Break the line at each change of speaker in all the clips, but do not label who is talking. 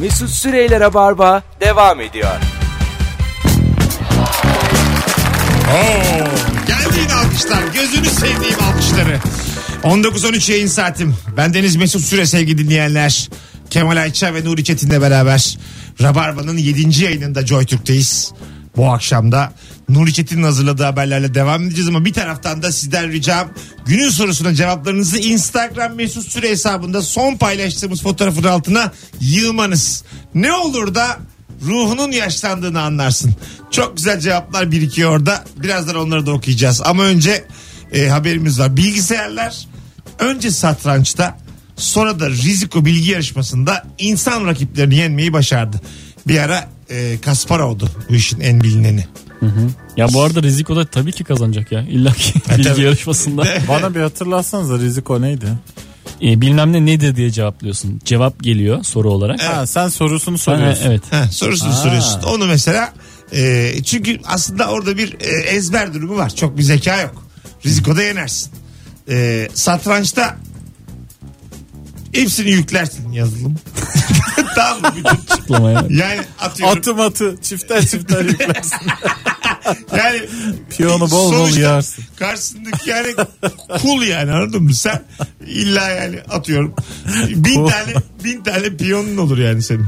Mesut Süreyler'e barba devam ediyor.
Oo, geldi yine alkışlar. Gözünü sevdiğim alkışları. 19-13 yayın saatim. Ben Deniz Mesut Süre sevgili dinleyenler. Kemal Ayça ve Nuri Çetin'le beraber Rabarba'nın 7. yayınında Joy Türk'teyiz. Bu akşam da Nuri Çetin'in hazırladığı haberlerle devam edeceğiz ama bir taraftan da sizden ricam günün sorusuna cevaplarınızı Instagram Mesut Süre hesabında son paylaştığımız fotoğrafın altına yığmanız. Ne olur da ruhunun yaşlandığını anlarsın. Çok güzel cevaplar birikiyor orada. Birazdan onları da okuyacağız. Ama önce e, haberimiz var. Bilgisayarlar önce satrançta sonra da riziko bilgi yarışmasında insan rakiplerini yenmeyi başardı. Bir ara e, Kasparov'du bu işin en bilineni.
Ya bu arada Riziko da tabii ki kazanacak ya. İlla ki
E, tabii.
bilgi yarışmasında.
Bana bir hatırlatsanıza Riziko neydi?
E, bilmem ne nedir diye cevaplıyorsun. Cevap geliyor soru olarak.
Ha, sen sorusunu
Ben-
soruyorsun.
evet.
Heh, sorusunu soruyorsun. Onu mesela e, çünkü aslında orada bir e, ezber durumu var. Çok bir zeka yok. Rizikoda yenersin. E, satrançta hepsini yüklersin yazılım. tamam mı? Bütün-
Kutlamaya.
Yani atıyorum.
Atım atı çifter çifter yüklersin.
Yani
Piyonu bol bol
sonuçta
yersin.
Karşısındaki yani kul yani anladın mı? Sen illa yani atıyorum. Bin tane bin tane piyonun olur yani senin.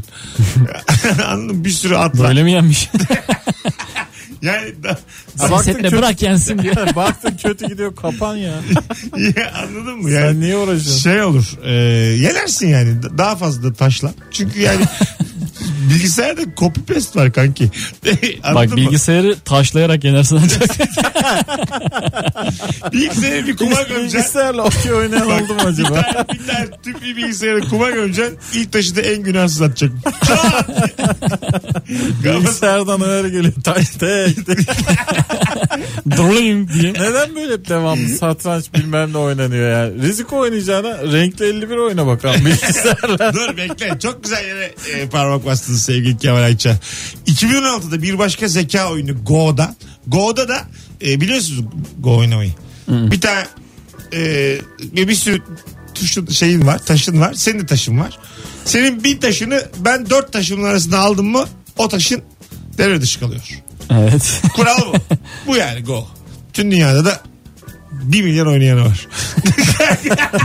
anladın mı? Bir sürü at var.
Böyle mi yenmiş?
Yani da-
Baktın
Setle
kötü-
bırak yensin diye.
Baktın kötü gidiyor kapan ya.
Ya anladın mı?
Sen
Yani
niye uğraşıyorsun?
şey olur. E, yenersin yani. D- Daha fazla da taşla. Çünkü yani bilgisayarda copy paste var kanki. Anladın
Bak
mı?
bilgisayarı taşlayarak yenersin ancak.
Bilgisayara bir kuma gömeceksin.
Bilgisayarla okey oynayan
Bak,
oldu mu acaba?
Bir tane, bir tane tüp bir bilgisayara kuma gömeceksin. İlk taşı da en günahsız atacak. Çat! Kafası-
Bilgisayardan öyle geliyor. Taş tek tek.
Durayım diye.
Neden böyle hep devamlı satranç bilmem ne oynanıyor ya? Riziko oynayacağına renkli 51 oyna bakalım bilgisayarla.
Dur bekle. Çok güzel yere e, parmak bastınız sevgili Kemal Ayça. 2016'da bir başka zeka oyunu Go'da. Go'da da e, biliyorsunuz Go oynamayı. Bir tane e, bir bir sürü tuşun şeyin var, taşın var. Senin de taşın var. Senin bir taşını ben dört taşımın arasında aldım mı o taşın devre dışı kalıyor.
Evet.
Kural bu. bu yani go. Tüm dünyada da 1 milyon oynayanı var.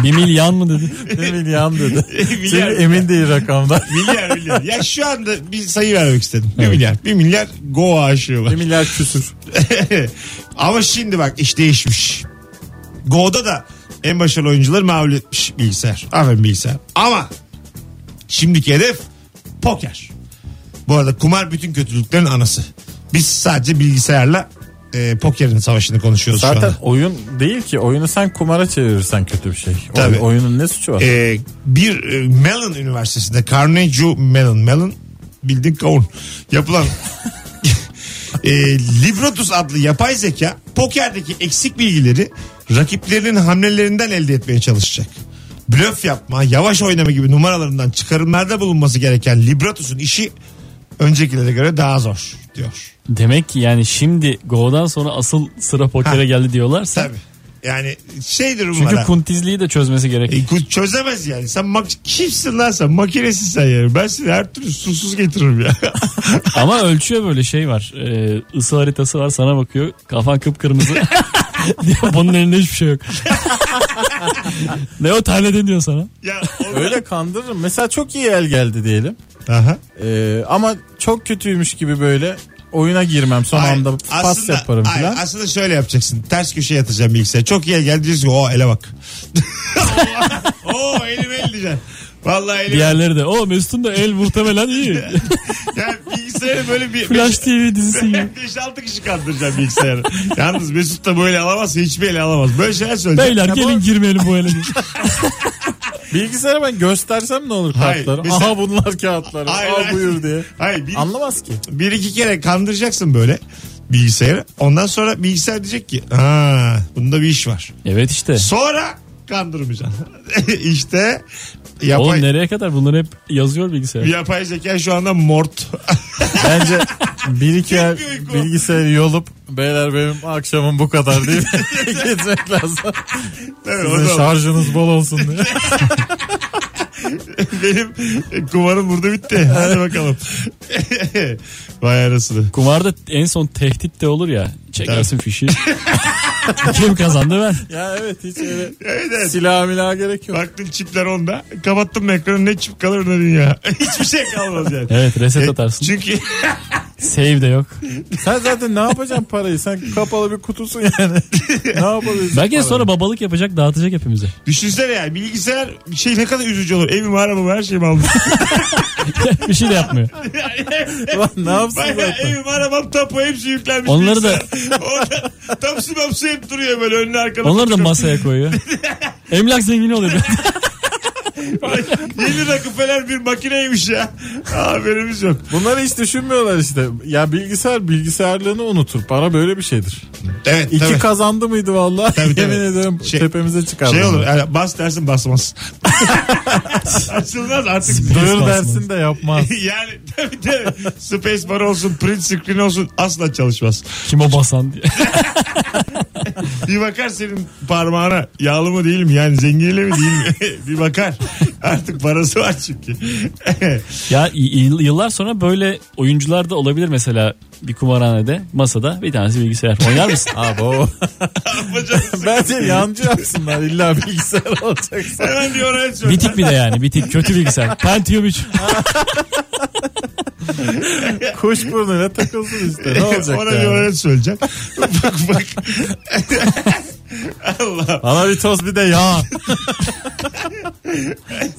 Bir milyon mu dedi?
Emin yan dedi. Senin
milyar,
emin değil rakamdan.
milyar, milyar. Ya şu anda bir sayı vermek istedim. 1 milyar. 1 milyar go aşıyorlar.
1 milyar küsür.
Ama şimdi bak iş değişmiş. Go'da da en başarılı oyuncuları mağlup etmiş bilgisayar. Aferin bilgisayar. Ama şimdiki hedef poker. Bu arada kumar bütün kötülüklerin anası. Biz sadece bilgisayarla e, pokerin savaşını konuşuyoruz şu
Zaten
anda.
oyun değil ki. Oyunu sen kumara çevirirsen kötü bir şey. Oy-
Tabii.
oyunun ne suçu var?
Ee, bir e, Mellon Üniversitesi'nde Carnegie Mellon Mellon bildiğin kavun yapılan e, Librotus adlı yapay zeka pokerdeki eksik bilgileri rakiplerinin hamlelerinden elde etmeye çalışacak. Blöf yapma, yavaş oynama gibi numaralarından çıkarımlarda bulunması gereken Librotus'un işi öncekilere göre daha zor diyor.
Demek ki yani şimdi Go'dan sonra asıl sıra
Ha.
pokere geldi diyorlarsa.
Tabii. Yani şeydir
Çünkü
numara.
kuntizliği de çözmesi gerek.
E, ku- çözemez yani. Sen mak- kimsin lan sen? Makinesin sen yani. Ben seni her türlü susuz getiririm ya.
Ama ölçüyor böyle şey var. Ee, ısı haritası var sana bakıyor. Kafan kıpkırmızı. diyor, bunun elinde hiçbir şey yok. ne o taneden diyor sana.
ya
Öyle kandırırım. Mesela çok iyi el geldi diyelim.
Aha.
Ee, ama çok kötüymüş gibi böyle oyuna girmem. Son
Hayır,
anda pas
aslında-
yaparım
hayır,
falan.
aslında şöyle yapacaksın. Ters köşeye yatacağım bilgisayar. Çok iyi geldi diyeceksin ki, o ele bak. Oo elim el diyeceksin. Vallahi elim. Ya.
Diğerleri de o Mesut'un da el muhtemelen iyi.
Yani bilgisayarı böyle bir...
Flash TV dizisi gibi.
5-6 kişi kandıracağım bilgisayarı. Yalnız Mesut da böyle alamazsa hiçbir ele alamaz. Böyle şeyler söyleyeceğim.
Beyler gelin girmeyelim bu ele. diye.
Bilgisayara ben göstersem ne olur
Hayır,
kağıtları?
mesela-
Aha bunlar kağıtları.
Hayır,
Al
hayır.
buyur diye.
Hayır, bir-
Anlamaz ki.
bir iki kere kandıracaksın böyle bilgisayarı. Ondan sonra bilgisayar diyecek ki ha bunda bir iş var.
Evet işte.
Sonra kandırmayacaksın. işte
Oğlum
yapay,
nereye kadar bunları hep yazıyor bilgisayar.
yapay zeka şu anda mort.
Bence bir iki el
Gitmiyor ki o.
bilgisayarı yolup beyler benim akşamım bu kadar deyip gitmek lazım.
Evet, o
Sizin
da-
şarjınız bol olsun diye.
Benim kumarım burada bitti. Hadi bakalım. Vay arasını.
Kumarda en son tehdit de olur ya. Çekersin fişi. Kim kazandı ben?
Ya evet hiç öyle
Evet, evet.
silah milah gerek yok.
Baktın çipler onda. Kapattım ekranı ne çip kalır ne dünya. Hiçbir şey kalmaz yani.
Evet reset atarsın.
Çünkü
E- Save de yok.
Sen zaten ne yapacaksın parayı? Sen kapalı bir kutusun yani. ne yapabilirsin?
Belki de
parayı?
sonra babalık yapacak dağıtacak hepimize.
düşünsene yani bilgisayar bir şey ne kadar üzücü olur. Evimi arabamı her şeyimi aldım.
bir şey de yapmıyor.
Lan ne yapsın
Bayağı
zaten?
evim arabam tapu hepsi yüklenmiş.
Onları da-
bilgisayar. Orada Tapsi mapsi hep duruyor böyle önüne arkada.
Onları da masaya koyuyor. Emlak zengini oluyor.
Ay, Yeni Rockefeller bir makineymiş ya. Haberimiz yok.
Bunları hiç düşünmüyorlar işte. Ya bilgisayar bilgisayarlığını unutur. Para böyle bir şeydir.
Evet
İki kazandı mıydı vallahi?
Tabii, tabii.
Yemin ederim
Şey-
tepemize çıkardı.
şey olur yani bas dersin basmaz. Açılmaz artık.
Duyur
Basmaz.
dersin de yapmaz.
yani tabii tabii. Space bar olsun, print screen olsun asla çalışmaz.
Kim o basan diye.
Bir bakar senin parmağına yağlı mı değil mi yani zenginle mi değil mi bir bakar. Artık parası var çünkü.
Ya y- y- yıllar sonra böyle oyuncular da olabilir mesela bir kumarhanede masada bir tanesi bilgisayar. Oynar mısın?
Abo.
Yapacağız.
Bence yancı yapsınlar illa bilgisayar olacaksa.
Hemen diyor oraya çöz.
bitik bir de yani bitik kötü bilgisayar. Pentium 3.
Kuş burnuyla takılsın işte. Ne olacak
Ona bir
yani?
oraya söyleyeceğim. bak bak. Allah.
Bana bir toz bir de yağ.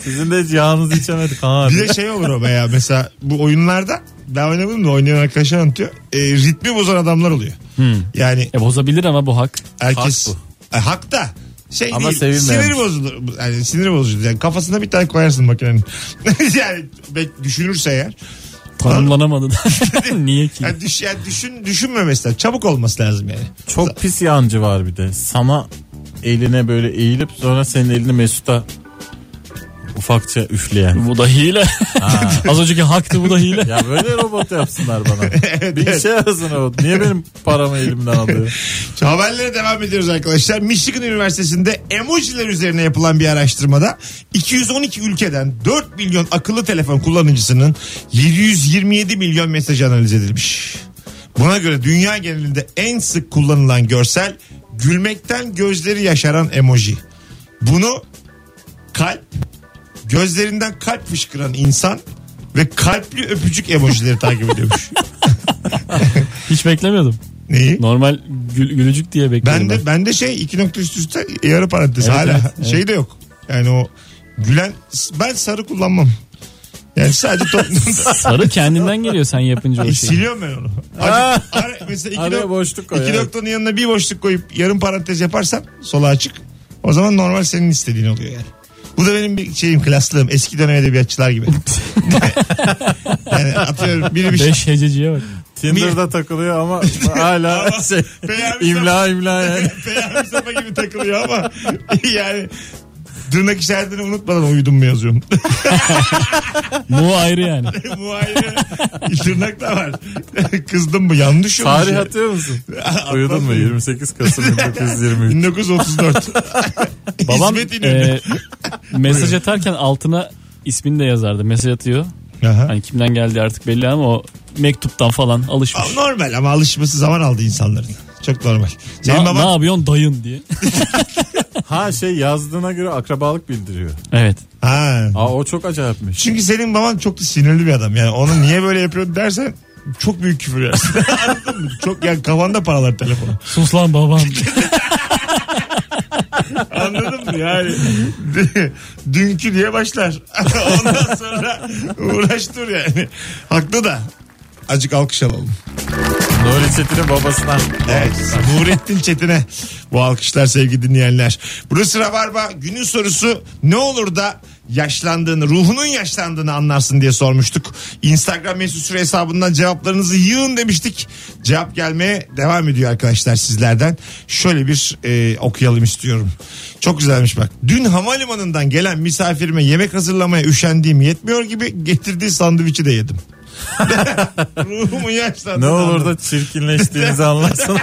Sizin de hiç yağınızı içemedik ha.
Bir de şey olur o be ya mesela bu oyunlarda ben oynamadım da oynayan arkadaşlar anlatıyor. E, ritmi bozan adamlar oluyor. Yani
E bozabilir ama bu hak.
herkes...
Hmm. Hak
E, hak da şey
Ama
değil,
sevilmeyen.
sinir bozulur. Yani sinir bozucu. Yani kafasına bir tane koyarsın makinenin. yani bek- düşünürse eğer.
Tanımlanamadın. Niye ki?
Yani, düş, yani düşün, düşünmemesi lazım. Çabuk olması lazım yani.
Çok pis yancı var bir de. Sana eline böyle eğilip sonra senin elini Mesut'a ufakça üfleyen.
Bu da hile. Az önceki haktı bu da hile.
Ya böyle robot yapsınlar bana. bir işe yarasın robot. Niye benim paramı elimden alıyor?
Haberlere devam ediyoruz arkadaşlar. Michigan Üniversitesi'nde emojiler üzerine yapılan bir araştırmada 212 ülkeden 4 milyon akıllı telefon kullanıcısının 727 milyon mesajı analiz edilmiş. Buna göre dünya genelinde en sık kullanılan görsel gülmekten gözleri yaşaran emoji. Bunu kalp, gözlerinden kalp fışkıran insan ve kalpli öpücük emojileri takip ediyormuş.
Hiç beklemiyordum.
Neyi?
Normal gül, gülücük diye bekliyordum.
Ben
Ben
de ben de şey iki nokta üst üste yarı parantez
Evet,
hala
evet, evet.
şey de yok. Yani o gülen ben sarı kullanmam. Yani sadece toplumda
Sarı şey. kendinden geliyor sen yapınca o şeyi.
siliyorum ben onu. Acı, ara, mesela iki,
Araya
nok-
boşluk koy.
iki
evet.
noktanın yanına bir boşluk koyup yarım parantez yaparsam sola açık. O zaman normal senin istediğin oluyor yani. Bu da benim bir şeyim klaslığım. Eski dönem edebiyatçılar gibi. yani atıyorum biri bir şey
Beş hececiye bak.
Tinder'da takılıyor ama
Ama şey.
hala şey,
beğenmiş
imla imla yani.
Peyami Safa gibi takılıyor ama yani tırnak işaretini unutmadan uyudum mu yazıyorum.
Mu ayrı yani.
Muayene tırnak da var. Kızdım mı? Yanlış olmuş.
Tarih
ya.
atıyor musun? Uyudun mu? 28 Kasım 1923.
1934.
Babam
Hizmet İnönü.
e, mesaj atarken altına ismini de yazardı. Mesaj atıyor.
Aha.
Hani kimden geldi artık belli ama o mektuptan falan alışmış.
Ama Normal ama alışması zaman aldı insanların. Çok normal. Senin
Na- Ne
baban
yapıyorsun dayın diye.
Ha şey yazdığına göre akrabalık bildiriyor.
evet.
ha.
Aa o çok acayipmiş.
Çünkü senin baban çok da sinirli bir adam. Yani onu niye böyle yapıyorsun dersen çok büyük küfür yersin. Anladın mı? Çok yani kafanda paralar telefonu.
Sus lan babam.
Anladın mı yani? D- Dünkü diye başlar. Ondan sonra uğraştır yani. Haklı da. Acık alkış alalım.
Nuri Çetin'in babasına.
Evet. Nurettin Çetin'e bu alkışlar sevgili dinleyenler. Burası Rabarba. Günün sorusu ne olur da yaşlandığını, ruhunun yaşlandığını anlarsın diye sormuştuk. Instagram mesut süre hesabından cevaplarınızı yığın demiştik. Cevap gelmeye devam ediyor arkadaşlar sizlerden. Şöyle bir e, okuyalım istiyorum. Çok güzelmiş bak. Dün havalimanından gelen misafirime yemek hazırlamaya üşendiğim yetmiyor gibi getirdiği sandviçi de yedim. Ruhumu yaşlandı.
Ne olur da çirkinleştiğinizi anlarsanız.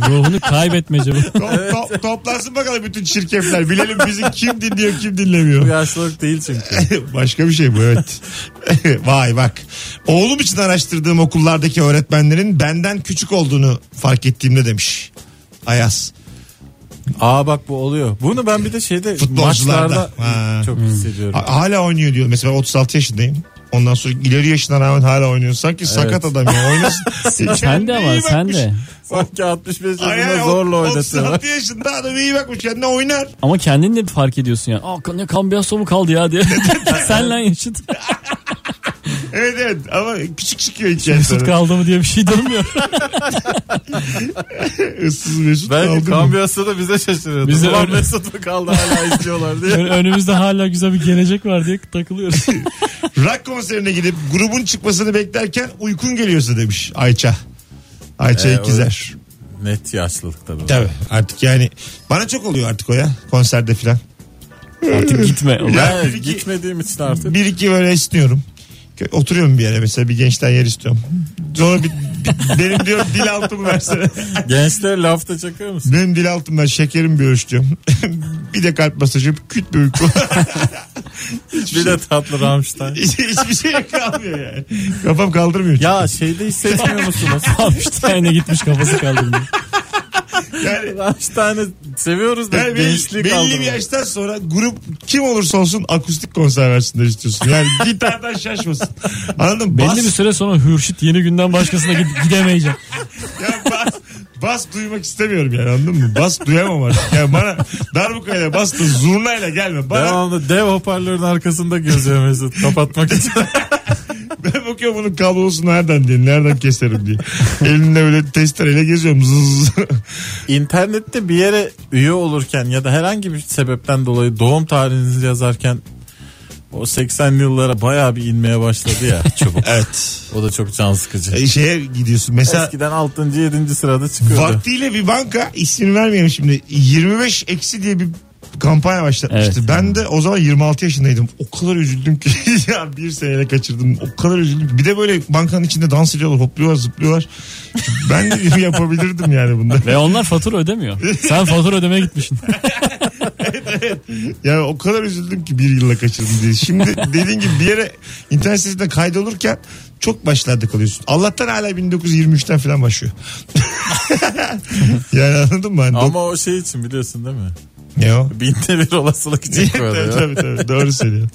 Ruhunu kaybetmece bu.
To- to- toplansın bakalım bütün çirkefler. Bilelim bizi kim dinliyor kim dinlemiyor.
Bu yaşlılık değil çünkü.
Başka bir şey bu evet. Vay bak. Oğlum için araştırdığım okullardaki öğretmenlerin benden küçük olduğunu fark ettiğimde demiş. Ayaz.
Aa bak bu oluyor. Bunu ben bir de şeyde
Futbolcularda.
maçlarda
Ha. Hmm.
çok hissediyorum.
Ha- Hala oynuyor diyor. Mesela ben 36 yaşındayım. Ondan sonra ileri yaşına rağmen hala oynuyor. Sanki sakat adam ya oynasın.
sen de
Kendine iyi
ama sen
bakmış.
de.
Sanki 65
Ay,
yaşında
ay,
zorla
o-
oynatıyorlar.
36 yaşında adam iyi bakmış kendine oynar.
Ama kendin de bir fark ediyorsun yani. Aa ne kambiyaso mu kaldı ya diye. Senle yaşıt.
Evet evet ama küçük çıkıyor içeriden.
Mesut kaldı mı diye bir şey dönmüyor.
Issız mesut
Ben
kaldı mı?
kambiyosu da bize şaşırıyordu.
Bize
Ulan
öyle-
Mesut mu kaldı hala izliyorlar diye.
Ön- önümüzde hala güzel bir gelecek var diye takılıyoruz.
Rock konserine gidip grubun çıkmasını beklerken uykun geliyorsa demiş Ayça. Ayça
Ee,
İkizer.
Net yaşlılık tabii.
Tabii artık yani bana çok oluyor artık o ya konserde filan.
Artık gitme.
Ya,
Evet, gitmediğim için artık.
Bir iki böyle istiyorum. Oturuyorum bir yere mesela bir gençten yer istiyorum. Sonra bir, bir- benim diyor dil altımı versene.
Gençler lafta çakıyor musun?
Benim dil altımdan şekerim bir ölçtüm. bir de kalp masajı küt bir uyku.
Bir de tatlı Rammstein.
Hiçbir şey kalmıyor yani. Kafam kaldırmıyor.
Ya şeyde hissetmiyor musunuz?
Rammstein'e gitmiş kafası kaldırdı.
Yani
Rammstein'i seviyoruz da
Yani belli-
gençlik
belli
aldı.
bir yaştan sonra grup kim olursa olsun akustik konser versinler istiyorsun. Yani gitardan şaşmasın. Anladın mı? Bas,
Belli bir süre sonra Hürşit yeni günden başkasına gid- gidemeyeceğim.
ya bas, bas duymak istemiyorum yani anladın mı? Bas duyamam artık. Yani bana darbukayla bas da zurnayla gelme. Bana
Devamlı dev hoparlörün arkasında geziyor Mesut kapatmak için.
ben bakıyorum bunun kablosunu nereden diye. Nereden keserim diye. Elimle böyle testereyle geziyorum. Zız.
İnternette bir yere üye olurken ya da herhangi bir sebepten dolayı doğum tarihinizi yazarken o 80'li yıllara bayağı bir inmeye başladı ya çabuk.
evet.
O da çok can sıkıcı.
E, şeye gidiyorsun. Mesela
Eskiden 6. 7. sırada çıkıyordu.
Vaktiyle bir banka ismini vermeyelim şimdi 25 eksi diye bir kampanya başlatmıştı.
Evet.
Ben de o zaman 26 yaşındaydım. O kadar üzüldüm ki ya bir seneyle kaçırdım. O kadar üzüldüm. ki. Bir de böyle bankanın içinde dans ediyorlar, hopluyorlar, zıplıyorlar. ben de yapabilirdim yani bunda.
Ve onlar fatura ödemiyor. Sen fatura ödemeye gitmişsin.
Yani o kadar üzüldüm ki bir yılla kaçırdım diye. Şimdi dediğin gibi bir yere internet sitesinde kaydolurken çok başlarda kalıyorsun. Allah'tan hala 1923'ten falan başlıyor. yani anladın mı? Hani
Ama o şey için biliyorsun değil mi?
ne o?
Binde bir olasılık için
tabii,
koyuyor.
tabii, tabii. Doğru söylüyorsun.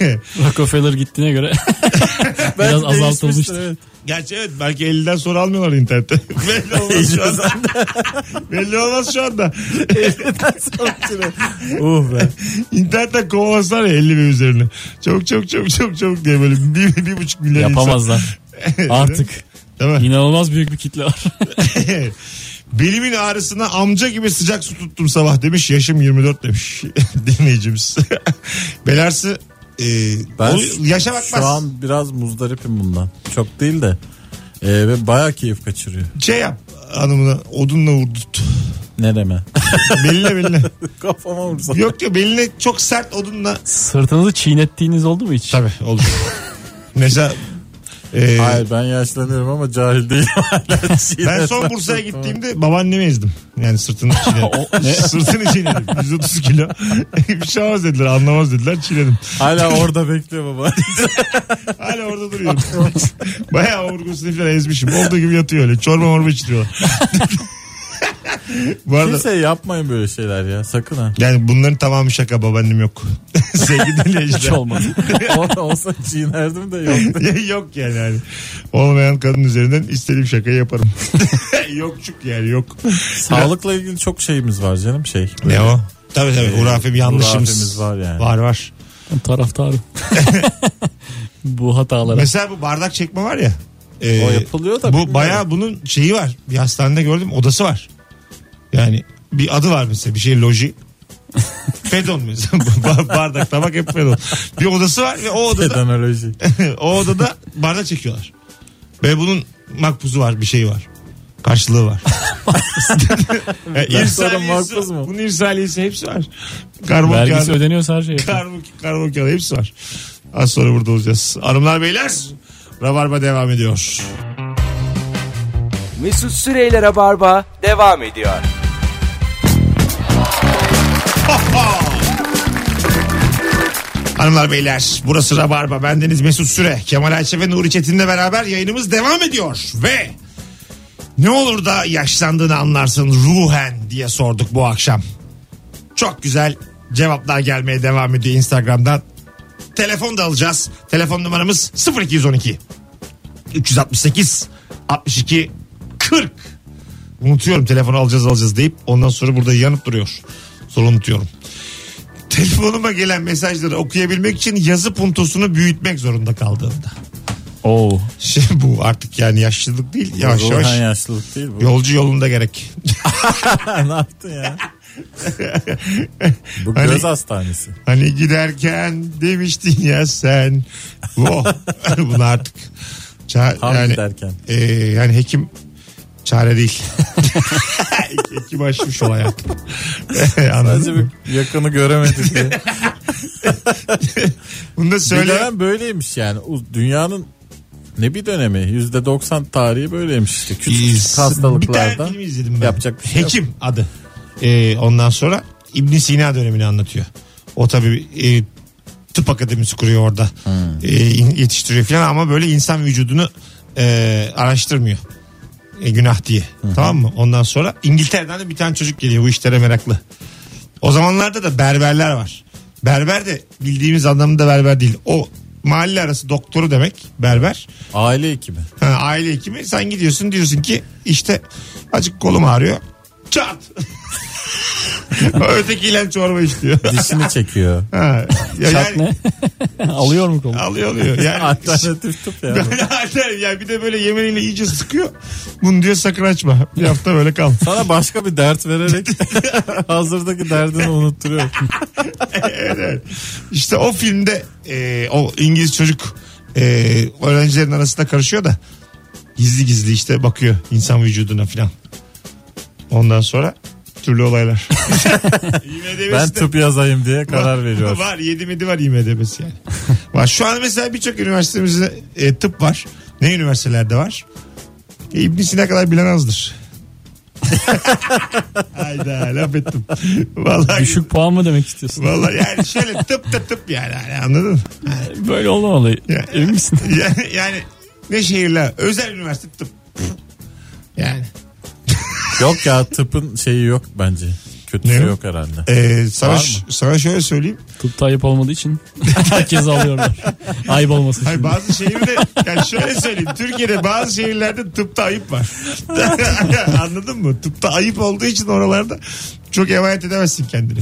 Rockefeller gittiğine göre biraz
Belki değişmiştir,
azaltılmıştır.
evet.
Gerçi evet belki 50'den sonra almıyorlar internette. Belli olmaz şu anda. Belli olmaz şu anda.
Uh be.
İnternetten kovalasınlar ya 50 bin üzerine. Çok çok çok çok çok diye böyle bir, bir buçuk milyon insan.
Yapamazlar. Artık
Değil mi?
inanılmaz büyük bir kitle var.
Belimin ağrısına amca gibi sıcak su tuttum sabah demiş. Yaşım 24 demiş dinleyicimiz. Belarsı e,
Ben
ol- yaşa bakmaz.
Şu an biraz muzdaripim bundan. Çok değil de. E, ve bayağı keyif kaçırıyor.
Şey yap hanımına odunla vurdut.
Nereme?
beline beline.
Kafama vursa.
Yok diyor beline çok sert odunla
Sırtınızı çiğnettiğiniz oldu mu hiç?
Tabii olur. Mesela e,
Hayır ben yaşlanıyorum ama cahil değilim. Hala şey
ben
çiğnetmem.
son Bursa'ya gittiğimde babaannemi ezdim. Yani sırtını çiğnedim. sırtını çiğnedim. 130 kilo. bir şey olmaz dediler anlamaz dediler çiğnedim.
Hala orada bekliyor baba.
Hala orada duruyorum. Bayağı omurgusunu falan ezmişim. Olduğu gibi yatıyor öyle. Çorba morba içiriyorlar. Bu arada
Kimse yapmayın böyle şeyler ya sakın ha.
yani bunların tamamı şaka babaannem yok. Sevgili
Hiç
dinleyiciler.
olmadı.
Orada olsa çiğnerdim de yok.
yok yani hani. Olmayan kadın üzerinden istediğim şakayı yaparım. Yokçuk yani yok.
Sağlıkla ilgili çok şeyimiz var canım şey.
Ne o? Tabii tabii. Urafem yanlışımız.
Hurafemiz var yani.
Ee, Var var.
Taraftarım. Bu hatalara.
Mesela bu bardak çekme var ya. e,
O yapılıyor da
Bu
bilmiyorum.
bayağı bunun şeyi var. Bir hastanede gördüm odası var. Yani bir adı var mesela bir şey loji. Fedon mesela Ba- bardak tabak hep Fedon. Bir odası var ve o odada
Pedanoloji.
o odada bardak çekiyorlar. Ve bunun makbuzu var bir şeyi var. Karşılığı var. yani
Bundan sonra
irsaliyesi,
makbuz mu?
bunun irsaliyesi hepsi var. Karbon
Vergisi
kağıdı.
ödeniyorsa her şey. yapıyor.
Karbon, karbon kağıdı hepsi var. Az sonra burada olacağız. Hanımlar beyler Rabarba devam ediyor.
Mesut Süreyler'e barba devam ediyor.
Hanımlar beyler burası Rabarba. Bendeniz Mesut Süre. Kemal Ayşe ve Nuri Çetin'le beraber yayınımız devam ediyor. Ve ne olur da yaşlandığını anlarsın ruhen diye sorduk bu akşam. Çok güzel cevaplar gelmeye devam ediyor Instagram'dan. Telefon da alacağız. Telefon numaramız 0212 368 62 40. Unutuyorum telefonu alacağız alacağız deyip ondan sonra burada yanıp duruyor. Sonra unutuyorum telefonuma gelen mesajları okuyabilmek için yazı puntosunu büyütmek zorunda kaldığımda.
Oo.
Şimdi bu artık yani yaşlılık değil yavaş
Ruhen
yavaş.
yaşlılık değil bu.
Yolcu yolunda gerek.
ne yaptın ya? bu
Hani-
göz hastanesi.
Hani giderken demiştin ya sen. Oh. Bunu artık. Ça-
Tam
yani,
giderken.
e, yani hekim çare değil. hekim açmış o hayat. Anladın
Sadece
mı?
bir yakını göremedik diye.
Bunu da
Bir
söyle.
dönem böyleymiş yani. U- Dünyanın ne bir dönemi? Yüzde 90 tarihi böyleymiş işte. Küçük
İz-
küçük hastalıklarda.
Bir tane film izledim ben.
yapacak bir şey yok.
Hekim adı. Ee, ondan sonra ibn Sina dönemini anlatıyor. O tabii e, tıp akademisi kuruyor orada.
Hmm.
E, in- yetiştiriyor falan ama böyle insan vücudunu e, araştırmıyor. E, günah diye. Tamam mı? Ondan sonra İngiltere'den de bir tane çocuk geliyor bu işlere meraklı. O zamanlarda da berberler var. Berber de bildiğimiz anlamında berber değil. O mahalle arası doktoru demek berber.
Aile hekimi.
Ha, aile hekimi sen gidiyorsun diyorsun ki işte acık kolum ağrıyor. Çat. Ötekiyle çorba içiyor.
Dişini çekiyor.
Ha, ya
Çat
yani,
ne? Alıyor mu kolu?
Alıyor alıyor. Yani,
Alternatif tıp ya. bu.
Alternatif. ya bir de böyle yemeniyle iyice sıkıyor. Bunu diyor sakın açma. Bir hafta böyle kal.
Sana başka bir dert vererek hazırdaki derdini unutturuyor.
İşte o filmde e, o İngiliz çocuk e, öğrencilerin arasında karışıyor da gizli gizli işte bakıyor insan vücuduna filan. Ondan sonra türlü olaylar. IMDb'si
Ben
de-
tıp yazayım diye karar veriyor.
Var yedi midi var IMDB'si yani. var. Şu an mesela birçok üniversitemizde e, tıp var. Ne üniversitelerde var? E, İbn Sina kadar bilen azdır. Hayda laf ettim. Vallahi
Düşük puan mı demek istiyorsun?
Vallahi yani şöyle tıp da tıp yani, hani anladın mı?
Böyle olmamalı.
Ya.
Emin misin?
Yani, yani ne şehirler özel üniversite tıp. Yani.
Yok ya tıpın şeyi yok bence. Kötüsü
Ne?
yok herhalde.
E, sana,
Var
ş- sana şöyle söyleyeyim.
Tıpta ayıp olmadığı için herkes alıyorlar. Ayıp olmasın.
Hayır,
şimdi.
bazı şehirde yani şöyle söyleyeyim. Türkiye'de bazı şehirlerde tıpta ayıp var. Anladın mı? Tıpta ayıp olduğu için oralarda çok emanet edemezsin kendini.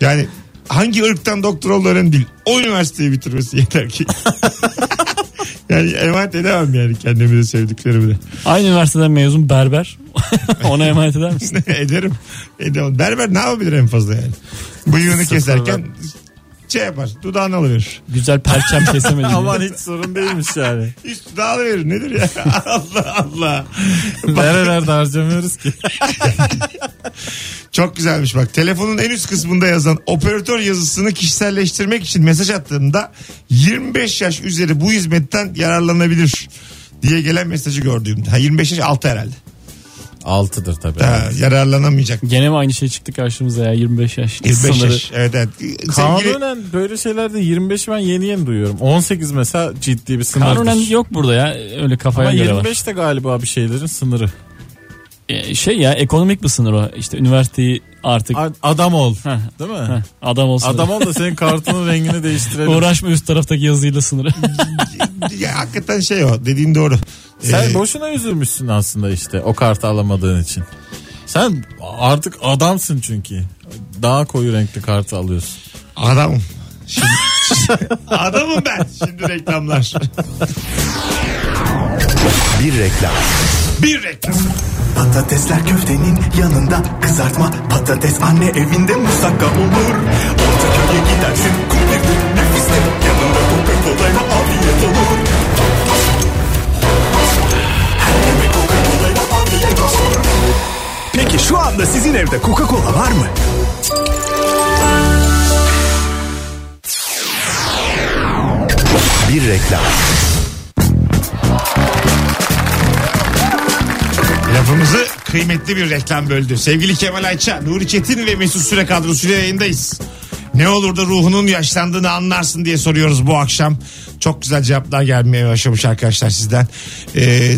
Yani hangi ırktan doktor olduğu önemli değil. O üniversiteyi bitirmesi yeter ki. yani emanet edemem yani kendimi de sevdiklerimi de.
Aynı üniversiteden mezun berber. Ona emanet eder misin?
Ederim. Edemem. Berber ne yapabilir en fazla yani? Bıyığını
Sıfır
keserken şey yapar. Dudağını alıverir.
Güzel perçem kesemedi.
Aman hiç sorun değilmiş yani.
Üst dudağı alıverir. Nedir ya? Allah Allah.
Nerelerde harcamıyoruz ki?
Çok güzelmiş bak. Telefonun en üst kısmında yazan operatör yazısını kişiselleştirmek için mesaj attığımda 25 yaş üzeri bu hizmetten yararlanabilir diye gelen mesajı gördüğümde. Ha, 25 yaş altı herhalde.
Altıdır tabii.
Ha, yararlanamayacak.
Gene mi aynı şey çıktı karşımıza ya 25 yaş
25
sınırı.
yaş. Evet, evet. Sevgili-
Kanunen böyle şeylerde 25 ben yeni yeni duyuyorum. 18 mesela ciddi bir sınırdır.
Kanunen yok burada ya öyle kafaya
Ama
göre
25 de galiba bir şeylerin sınırı.
var. E, Şey ya ekonomik bir sınır o işte üniversiteyi artık
A- Adam ol.
Heh.
Değil mi?
heh, adam olsun.
Adam ol da senin kartının rengini değiştirelim.
Uğraşma üst taraftaki yazıyla sınırı.
ya, hakikaten şey o. Dediğin doğru.
Sen
Ee,
boşuna üzülmüşsün aslında işte o kartı alamadığın için. Sen artık adamsın çünkü. Daha koyu renkli kartı alıyorsun.
Adamım. Şimdi, adamım ben. Şimdi reklamlar.
Bir reklam.
Bir reklam.
Patatesler köftenin yanında kızartma patates anne evinde musakka olur. Orta köye gidersin kumevde nefiste yanında Coca Cola'yla afiyet olur. Her yemek Coca Cola'yla afiyet olur. Peki şu anda sizin evde Coca Cola var mı?
Bir reklam.
Lafımızı kıymetli bir reklam böldü. Sevgili Kemal Ayça, Nuri Çetin ve Mesut Süre kadrosuyla yayındayız. Ne olur da ruhunun yaşlandığını anlarsın diye soruyoruz bu akşam. Çok güzel cevaplar gelmeye başlamış arkadaşlar sizden. Ee,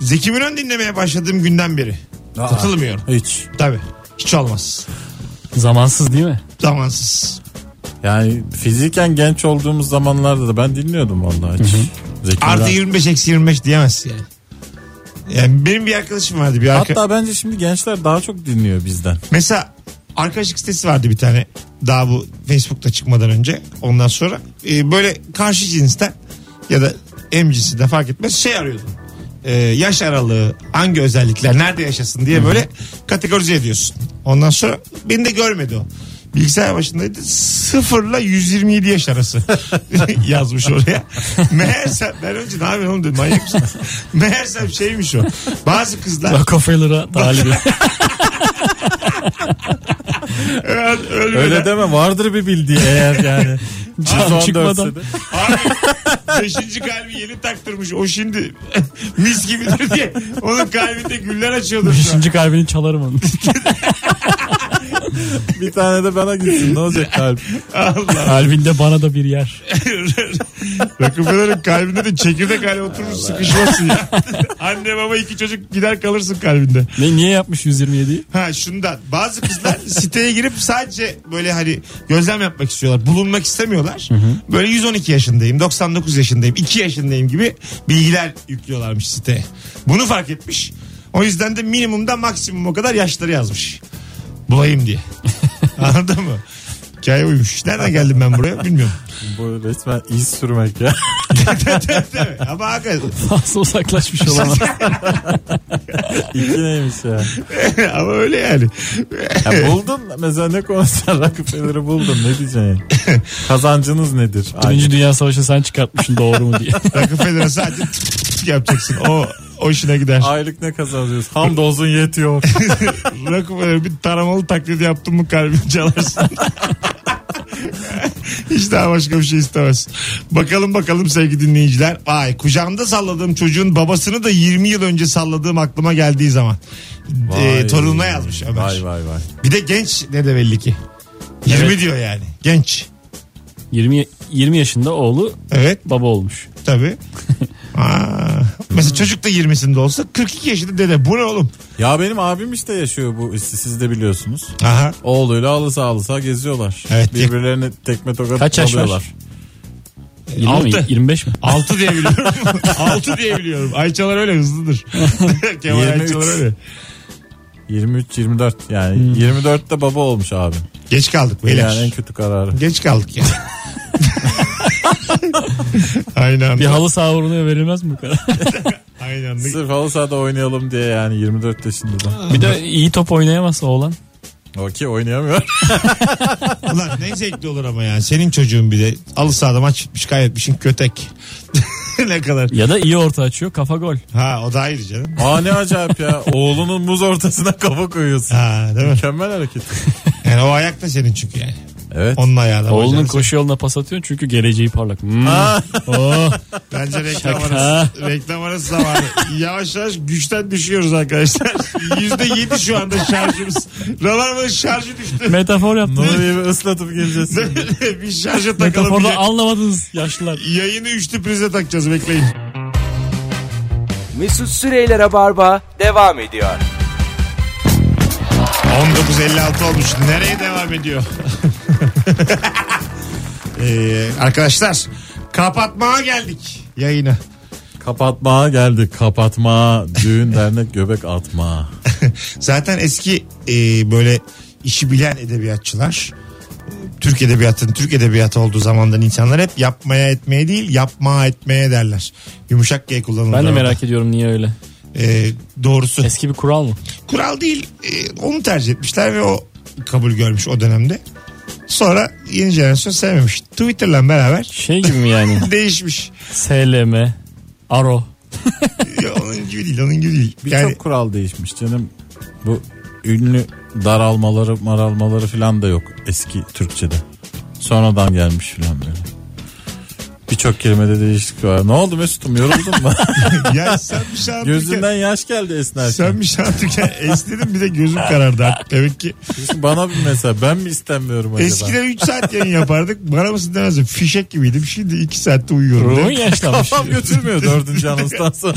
Zeki Müren dinlemeye başladığım günden beri. Katılmıyorum.
Hiç.
Tabii. Hiç olmaz.
Zamansız değil mi?
Zamansız.
Yani fiziken genç olduğumuz zamanlarda da ben dinliyordum vallahi hiç. Zeki
Artı
Müren.
25 eksi 25 diyemezsin yani. Yani benim bir arkadaşım vardı. Bir arka...
Hatta bence şimdi gençler daha çok dinliyor bizden.
Mesela arkadaşlık sitesi vardı bir tane. Daha bu Facebook'ta çıkmadan önce. Ondan sonra e, böyle karşı cinsten ya da emcisi de fark etmez şey arıyordu. E, yaş aralığı, hangi özellikler, nerede yaşasın diye böyle kategorize ediyorsun. Ondan sonra beni de görmedi o. Bilgisayar başındaydı. Sıfırla 127 yaş arası yazmış oraya. Meğerse ben önce ne yapıyorsun oğlum dedim manyak mısın? Meğerse şeymiş o. Bazı kızlar
Rockefeller'a talibi.
ölmeden
Öyle deme vardır bir bildiği eğer yani.
Çıkmadan.
14'se de.
Abi beşinci kalbi yeni taktırmış. O şimdi mis gibidir diye. Onun kalbinde güller açıyordur. şu an.
Beşinci kalbini çalarım onun.
Bir tane de bana gitsin ne olacak kalp.
Allah.
Kalbinde bana da bir yer.
Rockefeller'ın kalbinde de çekirdek hale oturmuş sıkışmasın ya. Anne baba iki çocuk gider kalırsın kalbinde.
Ne, niye yapmış 127'yi?
Ha şundan bazı kızlar siteye girip sadece böyle hani gözlem yapmak istiyorlar. Bulunmak istemiyorlar. Böyle 112 yaşındayım, 99 yaşındayım, 2 yaşındayım gibi bilgiler yüklüyorlarmış siteye. Bunu fark etmiş. O yüzden de minimumda maksimum o kadar yaşları yazmış. Bulayım diye. Anladın mı? Hikaye uymuş. Nereden geldim ben buraya bilmiyorum.
Bu resmen iz sürmek ya.
Değil mi? Ama hakikaten-
Fazla uzaklaşmış olamaz.
İki neymiş ya.
ama öyle yani.
ya buldun mesela ne konuşsan Rockefeller'ı buldun ne diyeceksin? Kazancınız nedir?
Birinci
Ay,
Dünya Savaşı sen çıkartmışsın doğru mu diye.
Rockefeller'a sadece yapacaksın. O, o işine gider.
Aylık ne kazanıyoruz? Hamdolsun yetiyor.
Rockefeller e, bir taramalı taklidi yaptın mı kalbini çalarsın. Hiç daha başka bir şey istemez. Bakalım bakalım sevgili dinleyiciler. Ay kucağımda salladığım çocuğun babasını da 20 yıl önce salladığım aklıma geldiği zaman. E, torununa yazmış Ömer.
Vay vay vay.
Bir de genç ne de belli ki. 20
Evet.
diyor yani. Genç.
20, 20 yaşında oğlu
Evet
baba olmuş.
tabii. Aa, mesela çocuk da 20'sinde olsa 42 yaşında dede. Bu ne oğlum?
Ya benim abim işte yaşıyor bu hissi siz de biliyorsunuz.
Aha.
Oğluyla alısa alısa geziyorlar.
Evet.
Birbirlerine tekme tokat
Kaç yaş var?
alıyorlar.
20 mi?
Altı.
25 mi?
6 diye biliyorum. 6 diye biliyorum. Ayçalar öyle hızlıdır. Kemal
23.
Ayçalar öyle.
23-24 yani
Hmm.
24'te baba olmuş abim.
Geç kaldık beyler.
Yani en kötü kararı.
Geç kaldık ya. aynı anda.
Bir halı saha uğruna verilmez mi bu kadar?
Aynı anda.
Sırf halı sahada oynayalım diye yani 24 yaşında da.
bir de iyi top oynayamazsa oğlan.
Okey oynayamıyor.
Ulan ne zevkli olur ama ya. Şenin çocuğun bir de alı sahada maç bitmiş kaybetmişin kötek. ne kadar.
Ya da iyi orta açıyor kafa gol.
Ha o da ayrı canım.
Aa ne acayip ya. Oğlunun muz ortasına kafa koyuyorsun.
Ha değil mi?
Mükemmel hareket.
Yani o ayak da senin çünkü yani.
Evet.
Onun ayağı da.
Oğlunun
bacağın-
koşu yoluna pas atıyorsun çünkü geleceği parlak. Hmm. Oh.
Bence reklam
Şaka.
arası. Reklam arası zamanı. Yavaş yavaş güçten düşüyoruz arkadaşlar. Yüzde yedi şu anda şarjımız. Rabarbanın şarjı düştü.
Metafor
Ne
yaptım.
oluyor bir ıslatıp geleceğiz.
bir şarja takalım.
Metaforda
Ya-
anlamadınız yaşlılar.
Yayını üçlü prize takacağız bekleyin.
Mesut Süreyler'e barba devam ediyor.
19.56 olmuş. Nereye devam ediyor? Ee, arkadaşlar kapatmaya geldik yayını.
Kapatmaya geldik. Kapatma. Düğün dernek göbek atma.
Zaten eski e, böyle işi bilen edebiyatçılar e, Türk edebiyatının Türk edebiyatı olduğu zamandan insanlar hep yapmaya etmeye değil yapma etmeye derler. Yumuşak G kullanılır.
Ben de
orada.
merak ediyorum niye öyle.
E, doğrusu.
Eski bir kural mı?
Kural değil e, onu tercih etmişler ve o kabul görmüş o dönemde. Sonra yeni jenerasyon sevmemiş. Twitter'la beraber
Şey gibi mi yani?
değişmiş.
SLM, ARO.
Ya onun gibi değil onun gibi değil.
Birçok
Yani
kural değişmiş canım. Bu ünlü daralmaları maralmaları falan da yok eski Türkçede. Sonradan gelmiş falan böyle. Bir Birçok kelimede değişiklik var. Ne oldu Mesut'um yoruldun mu?
Ya sen bir şey anlatırken-
Gözünden yaş geldi esnerken.
Sen bir şey anlatırken esnedim bir de gözüm karardı artık. Demek ki
Bana bir mesela ben mi istemiyorum acaba?
eskiden 3 saat yayın yapardık. Bana mısın demezdim. Fişek gibiydim. Şimdi 2 saatte uyuyorum.
Ruhun
Değil mi?
yaşlanmış.
Kafam götürmüyor dördüncü anonstan sonra.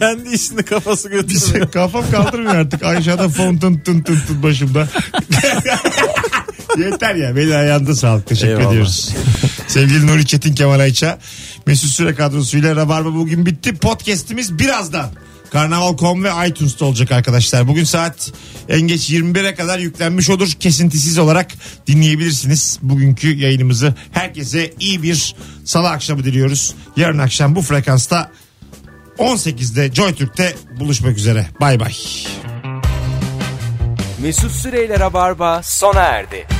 Kendi işini kafası
Bir şey,
götürmüyor.
kafam kaldırmıyor artık. Ayşe'de fon tın tın tın tın başımda. Yeter ya. Beni ayağında sağlık. Teşekkür
Eyvallah.
ediyoruz. Sevgili Nuri Çetin Kemal Ayça. Mesut Süre kadrosuyla Rabarba bugün bitti. Podcast'imiz birazdan. Karnaval.com ve iTunes'ta olacak arkadaşlar. Bugün saat en geç 21'e kadar yüklenmiş olur. Kesintisiz olarak dinleyebilirsiniz bugünkü yayınımızı. Herkese iyi bir salı akşamı diliyoruz. Yarın akşam bu frekansta 18'de Joy Türk'te buluşmak üzere. Bay bay.
Mesut Süreyler'e barba sona erdi.